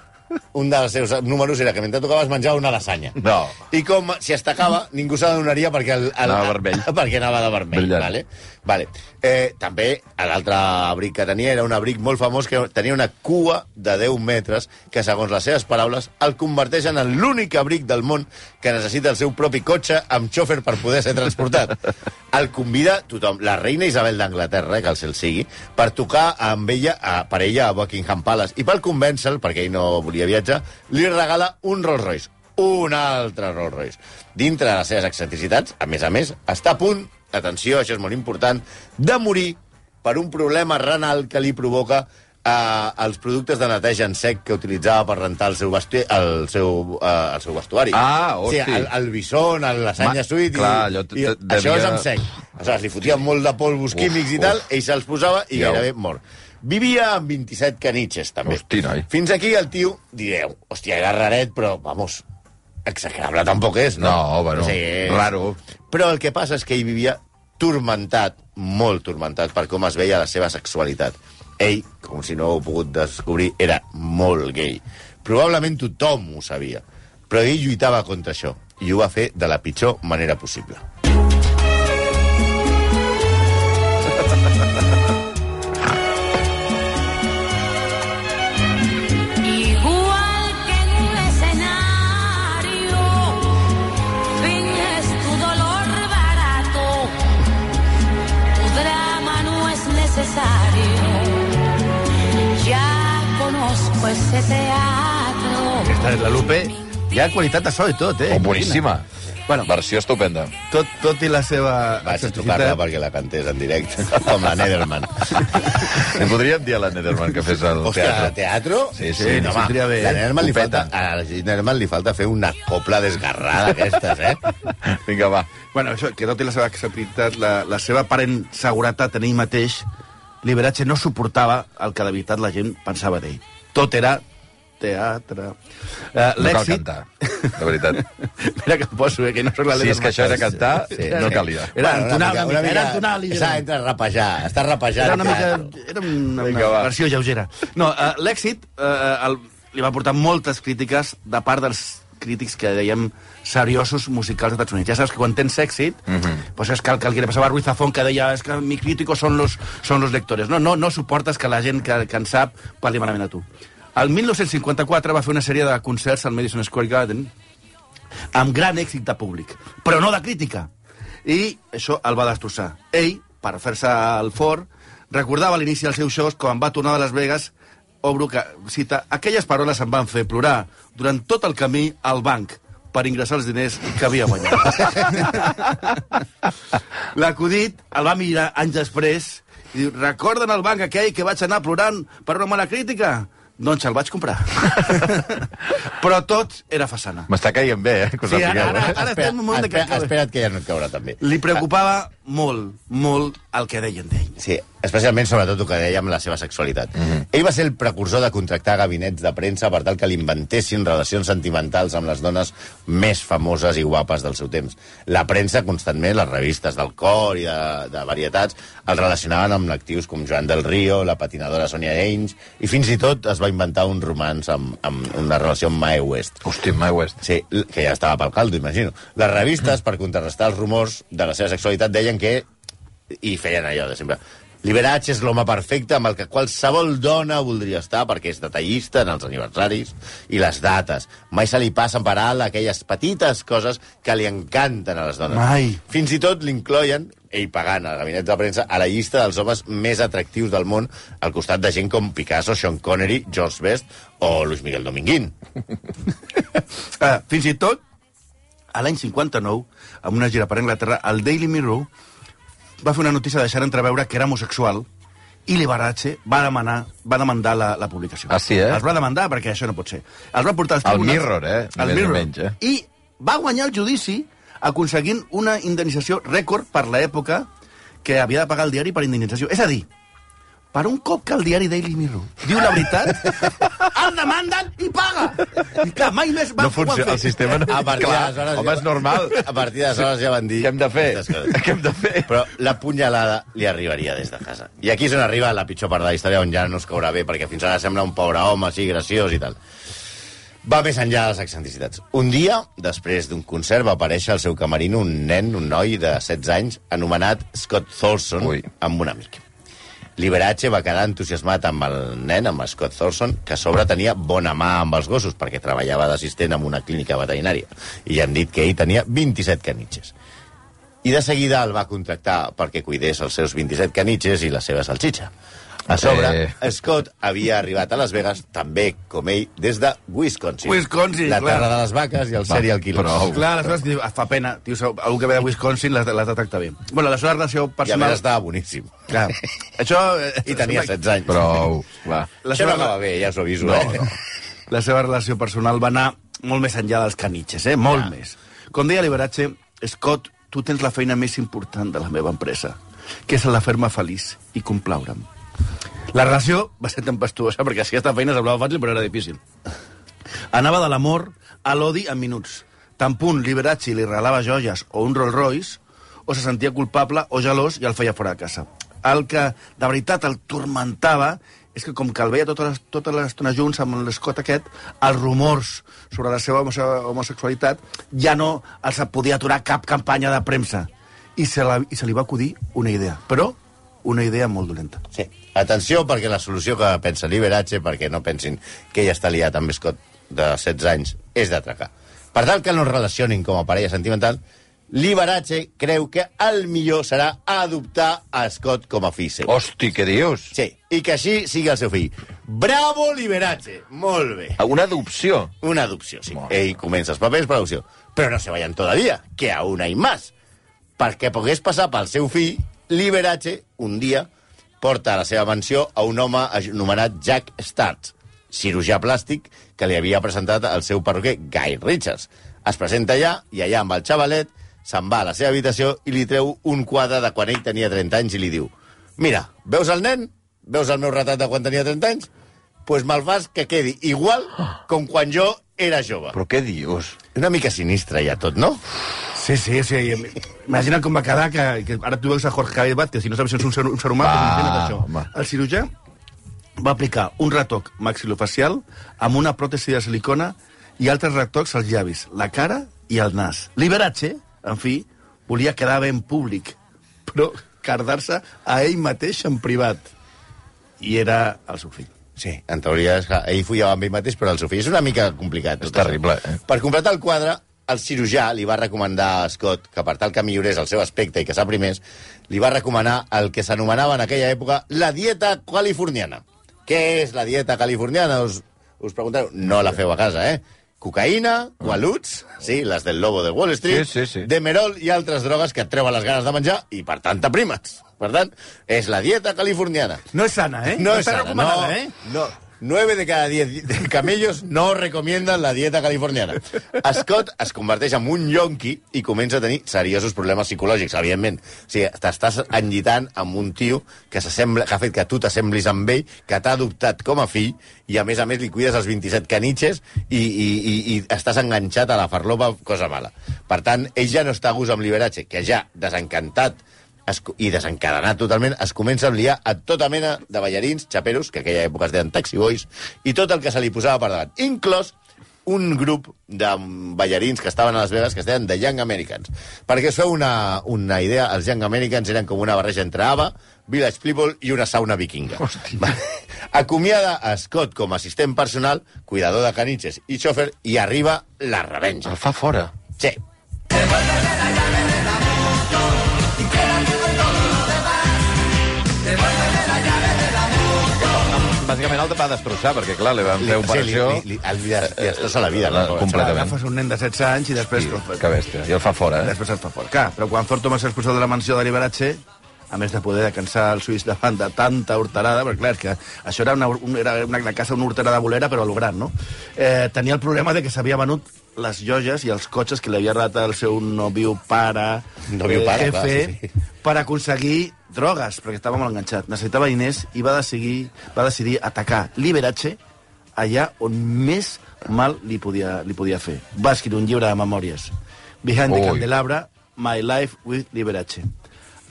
[SPEAKER 6] un dels seus números era que mentre tocava es menjava una lasanya.
[SPEAKER 4] No.
[SPEAKER 6] I com si es tacava, ningú se n'adonaria perquè... El, el,
[SPEAKER 4] Anava vermell.
[SPEAKER 6] Perquè anava de vermell,
[SPEAKER 4] Brillant.
[SPEAKER 6] vale? Vale. Eh, també, l'altre abric que tenia era un abric molt famós que tenia una cua de 10 metres que, segons les seves paraules, el converteixen en l'únic abric del món que necessita el seu propi cotxe amb xòfer per poder ser transportat. El convida tothom, la reina Isabel d'Anglaterra, eh, que el cel sigui, per tocar amb ella, a, per ella a Buckingham Palace. I per convèncer-lo, perquè ell no volia viatjar, li regala un Rolls Royce. Un altre Rolls Royce. Dintre de les seves excentricitats, a més a més, està a punt atenció, això és molt important, de morir per un problema renal que li provoca eh, els productes de neteja en sec que utilitzava per rentar el seu, vestu el seu, eh, el seu vestuari.
[SPEAKER 4] Ah,
[SPEAKER 6] sí,
[SPEAKER 4] hosti.
[SPEAKER 6] el, el bison, el lasanya
[SPEAKER 4] Ma-
[SPEAKER 6] suite...
[SPEAKER 4] clar,
[SPEAKER 6] i,
[SPEAKER 4] allò te-
[SPEAKER 6] i,
[SPEAKER 4] te-
[SPEAKER 6] això
[SPEAKER 4] devia-
[SPEAKER 6] és en sec. Aleshores, li fotien molt de polvos
[SPEAKER 4] Uf,
[SPEAKER 6] químics i tal,
[SPEAKER 4] uf.
[SPEAKER 6] ell se'ls posava i
[SPEAKER 4] Ja ho-
[SPEAKER 6] gairebé mort. Vivia amb 27 canitxes, també.
[SPEAKER 4] Hosti, noi.
[SPEAKER 6] Fins aquí el tio, direu, hòstia, era raret, però, vamos, execrable tampoc és, no?
[SPEAKER 4] No, bueno,
[SPEAKER 6] és-
[SPEAKER 4] raro.
[SPEAKER 6] Però el que passa és que ell vivia turmentat molt turmentat per com es veia la seva sexualitat. Ell, com si no ho heu pogut descobrir, era molt gay. Probablement tothom ho sabia, però ell lluitava contra això i ho va fer de la pitjor manera possible.
[SPEAKER 1] Igual que en un escenario, finges tu dolor barato, tu drama no es necesario. Ya conozco ese teatro.
[SPEAKER 5] Aquesta és la Lupe. Hi ha qualitat de so i tot, eh?
[SPEAKER 4] Oh, boníssima.
[SPEAKER 5] Bueno,
[SPEAKER 4] Versió estupenda.
[SPEAKER 5] tot, tot i la seva...
[SPEAKER 6] Vaig a tocar-la
[SPEAKER 5] excentricitat,
[SPEAKER 6] perquè la cantés en directe, com la Nederman.
[SPEAKER 4] Li podríem dir a la Nederman que fes el teatre.
[SPEAKER 6] Hòstia, el teatre?
[SPEAKER 4] Sí, sí,
[SPEAKER 6] sí
[SPEAKER 4] li
[SPEAKER 6] no, home,
[SPEAKER 5] saldria bé,
[SPEAKER 6] la
[SPEAKER 5] eh?
[SPEAKER 6] Nederman li
[SPEAKER 4] Ho peta.
[SPEAKER 6] falta, a la Nederman li falta fer una copla desgarrada d'aquestes, eh?
[SPEAKER 4] Vinga, va.
[SPEAKER 5] Bueno, això, que tot i la seva acceptabilitat, la, la seva aparent seguretat en ell mateix, Liberace no suportava el que de veritat la gent pensava d'ell. Tot era teatre. Uh,
[SPEAKER 4] No cal cantar, de veritat.
[SPEAKER 5] Mira que em poso, eh, que no sóc la
[SPEAKER 4] Si és que això era cantar, eh,
[SPEAKER 6] Sí.
[SPEAKER 4] no calia.
[SPEAKER 5] Era entonar una mica, era entonar
[SPEAKER 6] S'ha
[SPEAKER 5] ligerament.
[SPEAKER 6] d'entrar a rapejar, està rapejant.
[SPEAKER 5] Era una
[SPEAKER 6] teatre.
[SPEAKER 5] mica... Era una,
[SPEAKER 4] Vinga, va.
[SPEAKER 5] una versió lleugera. No, uh, l'èxit uh, el, li va portar moltes crítiques de part dels crítics que dèiem seriosos musicals dels Estats Units. Ja saps que quan tens èxit, mm
[SPEAKER 4] Mhm.
[SPEAKER 5] -hmm. pues és que el, que el que li passava a Ruiz Zafón, que deia es que mi crítico són los, son los lectores. No, no, no suportes que la gent que, que en sap parli malament a tu. El 1954 va fer una sèrie de concerts al Madison Square Garden, amb gran èxit de públic, però no de crítica. I això el va destrossar. Ell, per fer-se el fort, recordava a l'inici dels seus shows quan va tornar de Las Vegas, obro que cita, aquelles paroles em van fer plorar durant tot el camí al banc per ingressar els diners que havia guanyat. L'acudit el va mirar anys després i diu, recorden el banc aquell que vaig anar plorant per una mala crítica? Doncs el vaig comprar. Però tot era façana.
[SPEAKER 4] M'està caient bé, eh? Que us
[SPEAKER 5] Sí,
[SPEAKER 4] en
[SPEAKER 5] ara,
[SPEAKER 4] figueu,
[SPEAKER 5] ara,
[SPEAKER 4] eh?
[SPEAKER 5] ara estem en un moment de que
[SPEAKER 6] espera,
[SPEAKER 5] acabi.
[SPEAKER 6] espera't que ja no et caurà també.
[SPEAKER 5] Li preocupava molt, molt el que deien d'ell.
[SPEAKER 6] Sí, especialment sobretot el que deia amb la seva sexualitat. Mm -hmm. Ell va ser el precursor de contractar gabinets de premsa per tal que li inventessin relacions sentimentals amb les dones més famoses i guapes del seu temps. La premsa constantment, les revistes del cor i de, de varietats, el relacionaven amb actius com Joan del Río, la patinadora Sonia Ainge, i fins i tot es va inventar un romans amb, amb una relació amb Mae West.
[SPEAKER 4] Hòstia, My West.
[SPEAKER 6] Sí, l- que ja estava pel caldo, imagino. Les revistes, per contrarrestar els rumors de la seva sexualitat, deien que... I feien allò de sempre. Liberace és l'home perfecte amb el que qualsevol dona voldria estar perquè és detallista en els aniversaris i les dates. Mai se li passen per alt aquelles petites coses que li encanten a les dones.
[SPEAKER 5] Mai.
[SPEAKER 6] Fins i tot l'incloien, ell pagant al gabinet de premsa, a la llista dels homes més atractius del món, al costat de gent com Picasso, Sean Connery, George Best o Luis Miguel Dominguín.
[SPEAKER 5] Ah, fins i tot, a l'any 59, amb una gira per Anglaterra, el Daily Mirror va fer una notícia deixant entreveure que era homosexual i Liberace va demanar va demandar la, la publicació.
[SPEAKER 4] Ah, sí, eh?
[SPEAKER 5] Els va demandar perquè això no pot ser. Els va portar als
[SPEAKER 4] Al
[SPEAKER 5] tribunals...
[SPEAKER 4] Mirror, eh?
[SPEAKER 5] Al
[SPEAKER 4] Més o
[SPEAKER 5] Mirror.
[SPEAKER 4] menys, eh?
[SPEAKER 5] I va guanyar el judici aconseguint una indemnització rècord per l'època que havia de pagar el diari per indemnització. És a dir, per un cop que el diari Daily Mirror diu la veritat, el demanden i paga! I clar, mai més va
[SPEAKER 4] No funciona, el sistema no...
[SPEAKER 6] A partir
[SPEAKER 4] Clar,
[SPEAKER 6] d'aleshores...
[SPEAKER 4] home, és normal.
[SPEAKER 6] A partir d'aleshores ja van dir...
[SPEAKER 4] Què hem de fer?
[SPEAKER 6] aquestes coses.
[SPEAKER 4] Què hem de fer?
[SPEAKER 6] Però la punyalada li arribaria des de casa. I aquí és on arriba la pitjor part de la història, on ja no es caurà bé, perquè fins ara sembla un pobre home, sí, graciós i tal. Va més enllà de les excentricitats. Un dia, després d'un concert, va aparèixer al seu camerino un nen, un noi de 16 anys, anomenat Scott Thorson,
[SPEAKER 4] Ui.
[SPEAKER 6] amb un amic. Liberace va quedar entusiasmat amb el nen, amb Scott Thorson, que a sobre tenia bona mà amb els gossos, perquè treballava d'assistent en una clínica veterinària. I ja han dit que ell tenia 27 canitxes. I de seguida el va contractar perquè cuidés els seus 27 canitxes i la seva salxitxa. A sobre,
[SPEAKER 4] Eh.
[SPEAKER 6] Scott havia arribat a Las Vegas, també com ell, des de Wisconsin.
[SPEAKER 5] Wisconsin,
[SPEAKER 6] La
[SPEAKER 5] clar.
[SPEAKER 6] terra de les vaques i el
[SPEAKER 4] Va,
[SPEAKER 6] serial killer.
[SPEAKER 4] prou.
[SPEAKER 5] Clar, aleshores diu, "Ah, fa pena, tio, segur- algú que ve de Wisconsin les, les detecta bé. Bueno, la seva relació
[SPEAKER 6] I a més
[SPEAKER 5] personal...
[SPEAKER 6] estava boníssim.
[SPEAKER 5] Clar, això... eh,
[SPEAKER 6] I tenia 16 anys.
[SPEAKER 4] Prou, va.
[SPEAKER 5] La
[SPEAKER 6] Això
[SPEAKER 5] seva,
[SPEAKER 6] no acaba bé, ja us ho aviso.
[SPEAKER 5] No,
[SPEAKER 6] eh?
[SPEAKER 5] no. La seva relació personal va anar molt més enllà dels canitxes, eh? Molt més. Com deia Liberace, Scott, tu tens la feina més important de la meva empresa, que és la fer-me feliç i complaure'm. La relació va ser tempestuosa, perquè si aquesta feina semblava fàcil, però era difícil. Anava de l'amor a l'odi en minuts. Tan punt Liberace li regalava joies o un Rolls Royce, o se sentia culpable o gelós i el feia fora de casa. El que de veritat el tormentava és que com que el veia tota les- tota l'estona junts amb l'escot aquest, els rumors sobre la seva homose- homosexualitat ja no els podia aturar cap campanya de premsa. I se, la, I se li va acudir una idea, però una idea molt dolenta.
[SPEAKER 6] Sí. Atenció, perquè la solució que pensa Liberace, perquè no pensin que ella està liat amb Scott de 16 anys, és d'atracar. Per tal que no es relacionin com a parella sentimental, Liberace creu que el millor serà adoptar a Scott com a fill seu.
[SPEAKER 4] Hosti, què dius?
[SPEAKER 6] Sí, i que així sigui el seu fill. Bravo, Liberace! Molt bé.
[SPEAKER 4] Una adopció.
[SPEAKER 6] Una adopció, sí.
[SPEAKER 4] Molt
[SPEAKER 6] Ell comença els papers per adopció. Però no se vayan todavía, que aún hay más. Perquè pogués passar pel seu fill, Liberace, un dia, porta a la seva mansió a un home anomenat Jack Starts, cirurgià plàstic que li havia presentat el seu perruquer Guy Richards. Es presenta allà, i allà amb el xavalet se'n va a la seva habitació i li treu un quadre de quan ell tenia 30 anys i li diu «Mira, veus el nen? Veus el meu retrat de quan tenia 30 anys? pues me'l fas que quedi igual com quan jo era jove.
[SPEAKER 4] Però què dius?
[SPEAKER 6] Una mica sinistre ja tot, no?
[SPEAKER 5] Sí, sí, sí. Imagina com va quedar que, que ara tu veus a Jorge Javier Vázquez, si no saps si és un ser, un ser humà,
[SPEAKER 4] Va,
[SPEAKER 5] doncs imagina't això.
[SPEAKER 4] home.
[SPEAKER 5] El cirurgià va aplicar un retoc maxilofacial amb una pròtesi de silicona i altres retocs als llavis, la cara i el nas. Liberace, en fi, volia quedar ben públic, però cardar-se a ell mateix en privat. I era el seu fill.
[SPEAKER 6] Sí, en teoria és que ell follava amb ell mateix, però el seu fill és una mica complicat. tot
[SPEAKER 4] És terrible,
[SPEAKER 6] això.
[SPEAKER 4] eh?
[SPEAKER 6] Per completar el quadre, el cirurgià li va recomanar a Scott que per tal que millorés el seu aspecte i que s'aprimés, li va recomanar el que s'anomenava en aquella època la dieta californiana. Què és la dieta californiana? Us, us preguntareu. No la feu a casa, eh? Cocaïna, gualuts, sí, les del lobo de Wall Street,
[SPEAKER 4] Ah. Sí, sí, sí.
[SPEAKER 6] demerol i altres drogues que et treuen les ganes de menjar i, per tant, t'aprimes. Per tant, és la dieta californiana.
[SPEAKER 5] No és sana, eh?
[SPEAKER 6] No es
[SPEAKER 5] està
[SPEAKER 6] sana,
[SPEAKER 5] recomanada,
[SPEAKER 6] no,
[SPEAKER 5] eh?
[SPEAKER 6] No. 9 de cada 10 de camellos no recomienden la dieta californiana. Scott es converteix en un yonqui i comença a tenir seriosos problemes psicològics, evidentment. O sigui, t'estàs enllitant amb un tio que, s'assembla- que ha fet que tu t'assemblis amb ell, que t'ha adoptat com a fill, i a més a més li cuides els 27 canitxes i, i, i, i estàs enganxat a la farlopa, cosa mala. Per tant, ell ja no està a gust amb Liberace, que ja, desencantat es, co- i desencadenat totalment, es comença a liar a tota mena de ballarins, xaperos, que aquella època es deien taxi boys, i tot el que se li posava per davant, inclòs un grup de ballarins que estaven a Las Vegas que es deien The Young Americans. Perquè us feu una, una idea, els Young Americans eren com una barreja entre ABBA, Village People i una sauna vikinga. Hòstia. Acomiada a Scott com a assistent personal, cuidador de caniches i xòfer, i arriba la revenja.
[SPEAKER 4] El fa fora.
[SPEAKER 6] Sí,
[SPEAKER 4] Bàsicament el va destrossar, perquè clar, li van fer operació...
[SPEAKER 6] Sí, li, li, li, li, li estàs a la vida.
[SPEAKER 4] La-
[SPEAKER 6] no?
[SPEAKER 4] completament.
[SPEAKER 5] Agafes un nen de 16 anys i després...
[SPEAKER 4] I, que bèstia. I el fa fora, eh?
[SPEAKER 5] Després et fa fort. Clar, però quan Ford Thomas és expulsat de la mansió de Liberace, a més de poder descansar el suís davant de tanta horterada, perquè clar, és que això era una, un, era una, una casa, una horterada bolera, però a lo gran, no? Eh, tenia el problema de que s'havia venut les joies i els cotxes que li havia redat el seu nòvio pare, eh,
[SPEAKER 6] Nòvio pare, clar,
[SPEAKER 5] jefe,
[SPEAKER 6] sí,
[SPEAKER 5] per aconseguir drogues, perquè estava molt enganxat. Necessitava diners i va decidir, va decidir atacar Liberace allà on més mal li podia, li podia fer. Va escriure un llibre de memòries, Behind the
[SPEAKER 4] Ui.
[SPEAKER 5] Candelabra, My Life with Liberace,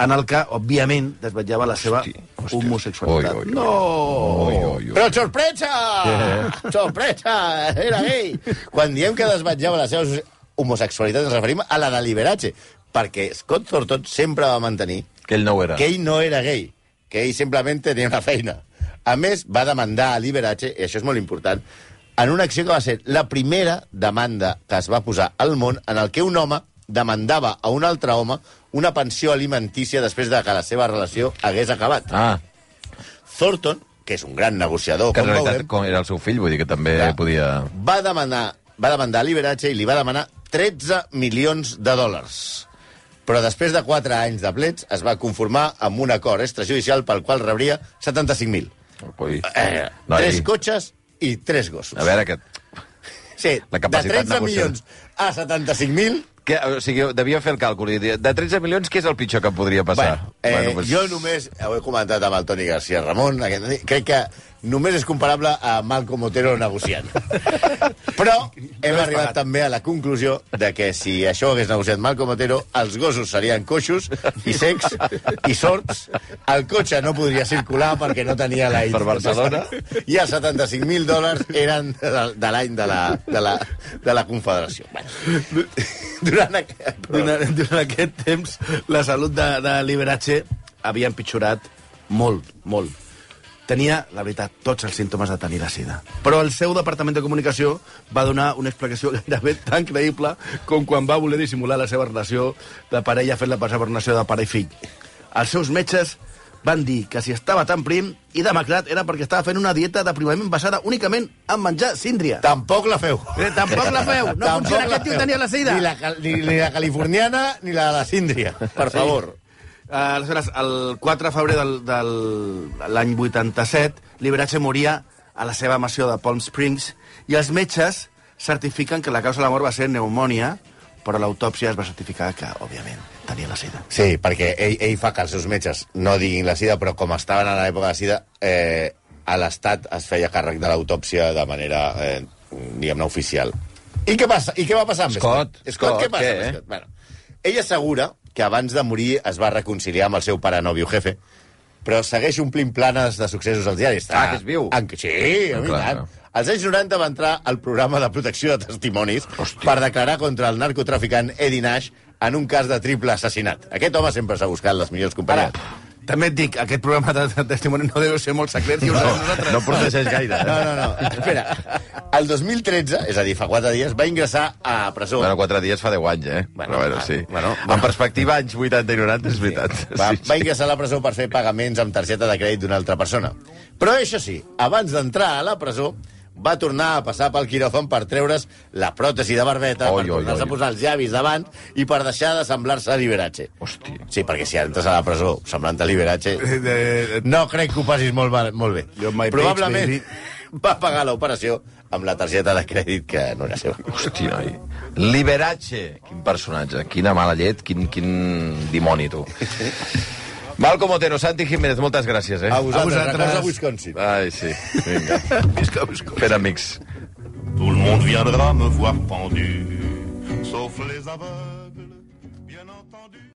[SPEAKER 5] en el que, òbviament, desvetllava la seva
[SPEAKER 4] Hosti, hosti.
[SPEAKER 5] homosexualitat.
[SPEAKER 4] Ui, ui, ui.
[SPEAKER 5] No!
[SPEAKER 4] Ui, ui, ui.
[SPEAKER 6] Però sorpresa! Sorpresa! Era gay! Quan diem que desvetjava la seva homosexualitat ens referim a la de Liberace, perquè Scott Thornton sempre va mantenir
[SPEAKER 4] Que ell no ho era.
[SPEAKER 6] que ell no era gay, que ell simplement tenia una feina. A més, va demandar a Liberace, i això és molt important, en una acció que va ser la primera demanda que es va posar al món en el que un home demandava a un altre home una pensió alimentícia després de que la seva relació hagués acabat.
[SPEAKER 4] Ah,
[SPEAKER 6] Thornton, que és un gran negociador,
[SPEAKER 4] que en
[SPEAKER 6] com
[SPEAKER 4] realitat
[SPEAKER 6] veurem,
[SPEAKER 4] com era el seu fill, vull dir que també
[SPEAKER 6] Clar.
[SPEAKER 4] podia...
[SPEAKER 6] va demanar, va demandar a Liberace i li va demanar 13 milions de dòlars. Però després de 4 anys de plets es va conformar amb un acord extrajudicial pel qual rebria 75.000.
[SPEAKER 4] Ui.
[SPEAKER 6] Eh,
[SPEAKER 4] Noi.
[SPEAKER 6] tres cotxes i tres gossos.
[SPEAKER 4] A veure, que...
[SPEAKER 6] sí,
[SPEAKER 4] la capacitat
[SPEAKER 6] de 13
[SPEAKER 4] negociadora.
[SPEAKER 6] milions a 75.000
[SPEAKER 4] Que, o sigui, devia fer el càlcul. i dir, De 13 milions, què és el pitjor que em podria passar?
[SPEAKER 6] Bueno, eh, bueno, pues... Jo només, eh, ho he comentat amb el Toni García Ramon, aquest, matí, crec que només és comparable a Malcom Otero negociant. Però hem arribat també a la conclusió de que si això ho hagués negociat Malcom Otero, els gossos serien coixos i secs i sorts, el cotxe no podria circular perquè no tenia la...
[SPEAKER 4] Per Barcelona.
[SPEAKER 6] I els 75.000 dòlars eren de, de l'any de, la, de, la, de la Confederació. Bueno, durant aquest...
[SPEAKER 5] Durant, durant aquest temps, la salut de, de Liberace havia empitjorat molt, molt. Tenia, la veritat, tots els símptomes de tenir la sida. Però el seu departament de comunicació va donar una explicació gairebé tan creïble com quan va voler dissimular la seva relació de parella fent-la passar per una relació de pare i fill. Els seus metges van dir que si estava tan prim i demacrat era perquè estava fent una dieta de privament basada únicament en menjar síndria.
[SPEAKER 6] Tampoc la feu.
[SPEAKER 5] Eh, Tampoc la feu. No
[SPEAKER 6] Tampoc
[SPEAKER 5] funciona,
[SPEAKER 6] la
[SPEAKER 5] aquest tio
[SPEAKER 6] feu.
[SPEAKER 5] tenia la sida.
[SPEAKER 6] Ni la, cal- ni, ni la californiana ni la de la síndria, per sí. favor.
[SPEAKER 5] Eh, Aleshores, el 4 de febrer del- del- de l'any 87, Liberace moria a la seva mansió de Palm Springs i els metges certifiquen que la causa de la mort va ser pneumònia, però a l'autòpsia es va certificar que, òbviament, tenia la sida.
[SPEAKER 6] Sí, perquè ell, ell fa que els seus metges no diguin la sida, però com estaven a l'època de la sida, eh, a l'Estat es feia càrrec de l'autòpsia de manera, eh, diguem-ne, oficial. I què, passa? I què va passar amb
[SPEAKER 4] Scott,
[SPEAKER 6] Scott,
[SPEAKER 4] Scott,
[SPEAKER 6] què passa
[SPEAKER 4] què? eh?
[SPEAKER 6] amb Scott? Bueno, ell assegura que abans de morir es va reconciliar amb el seu pare nòvio jefe, però segueix omplint planes de successos als diaris.
[SPEAKER 4] Ah, que és viu.
[SPEAKER 6] En... Sí, ah,
[SPEAKER 4] Ah,
[SPEAKER 6] clar,
[SPEAKER 4] clar,
[SPEAKER 6] tant.
[SPEAKER 4] clar.
[SPEAKER 6] Als anys 90 va entrar al programa de protecció de testimonis
[SPEAKER 4] Hòstia.
[SPEAKER 6] per declarar contra el narcotraficant Eddie Nash en un cas de triple assassinat. Aquest home sempre s'ha buscat les millors
[SPEAKER 5] Ara,
[SPEAKER 6] companyies.
[SPEAKER 5] també et dic, aquest programa de, de testimoni no deu ser molt secret i ho sabem nosaltres.
[SPEAKER 4] No protegeix gaire. eh?
[SPEAKER 6] No, no, no. Espera. El 2013, és a dir, fa 4 dies, va ingressar a presó.
[SPEAKER 4] Bueno, quatre dies fa 10 anys, eh? Bueno, Però,
[SPEAKER 6] Bueno,
[SPEAKER 4] bueno,
[SPEAKER 6] va,
[SPEAKER 4] sí.
[SPEAKER 6] bueno,
[SPEAKER 4] Bueno,
[SPEAKER 6] bueno.
[SPEAKER 4] En perspectiva, anys 80 i 90, és veritat.
[SPEAKER 6] Va,
[SPEAKER 4] Sí, sí.
[SPEAKER 6] va ingressar a la presó per fer pagaments amb targeta de crèdit d'una altra persona. Però, això sí, abans d'entrar a la presó, va tornar a passar pel quiròfan per treure's la pròtesi de barbeta,
[SPEAKER 4] Oi,
[SPEAKER 6] per
[SPEAKER 4] oi,
[SPEAKER 6] tornar-se
[SPEAKER 4] oi.
[SPEAKER 6] a posar els llavis davant i per deixar de semblar-se a Liberace.
[SPEAKER 4] Hòstia.
[SPEAKER 6] Sí, perquè si entres a la presó semblant a Liberace,
[SPEAKER 5] Eh, eh, eh,
[SPEAKER 6] no crec que ho passis molt, mal, molt bé.
[SPEAKER 5] You're my page,
[SPEAKER 6] Probablement
[SPEAKER 5] baby.
[SPEAKER 6] va pagar l'operació amb la targeta de crèdit que no era seva.
[SPEAKER 4] Hosti, noi. Liberace. Quin personatge, quina mala llet, quin, quin dimoni, tu. Malcom Otero, Santi Jiménez, moltes gràcies, eh?
[SPEAKER 6] A vosaltres, a
[SPEAKER 5] vosaltres.
[SPEAKER 6] vosaltres. a Wisconsin.
[SPEAKER 4] Ai, sí. Vinga.
[SPEAKER 5] visca, visca.
[SPEAKER 4] Fent amics.
[SPEAKER 3] Tout le monde viendra me voir pendu, sauf les aveugles, bien entendu.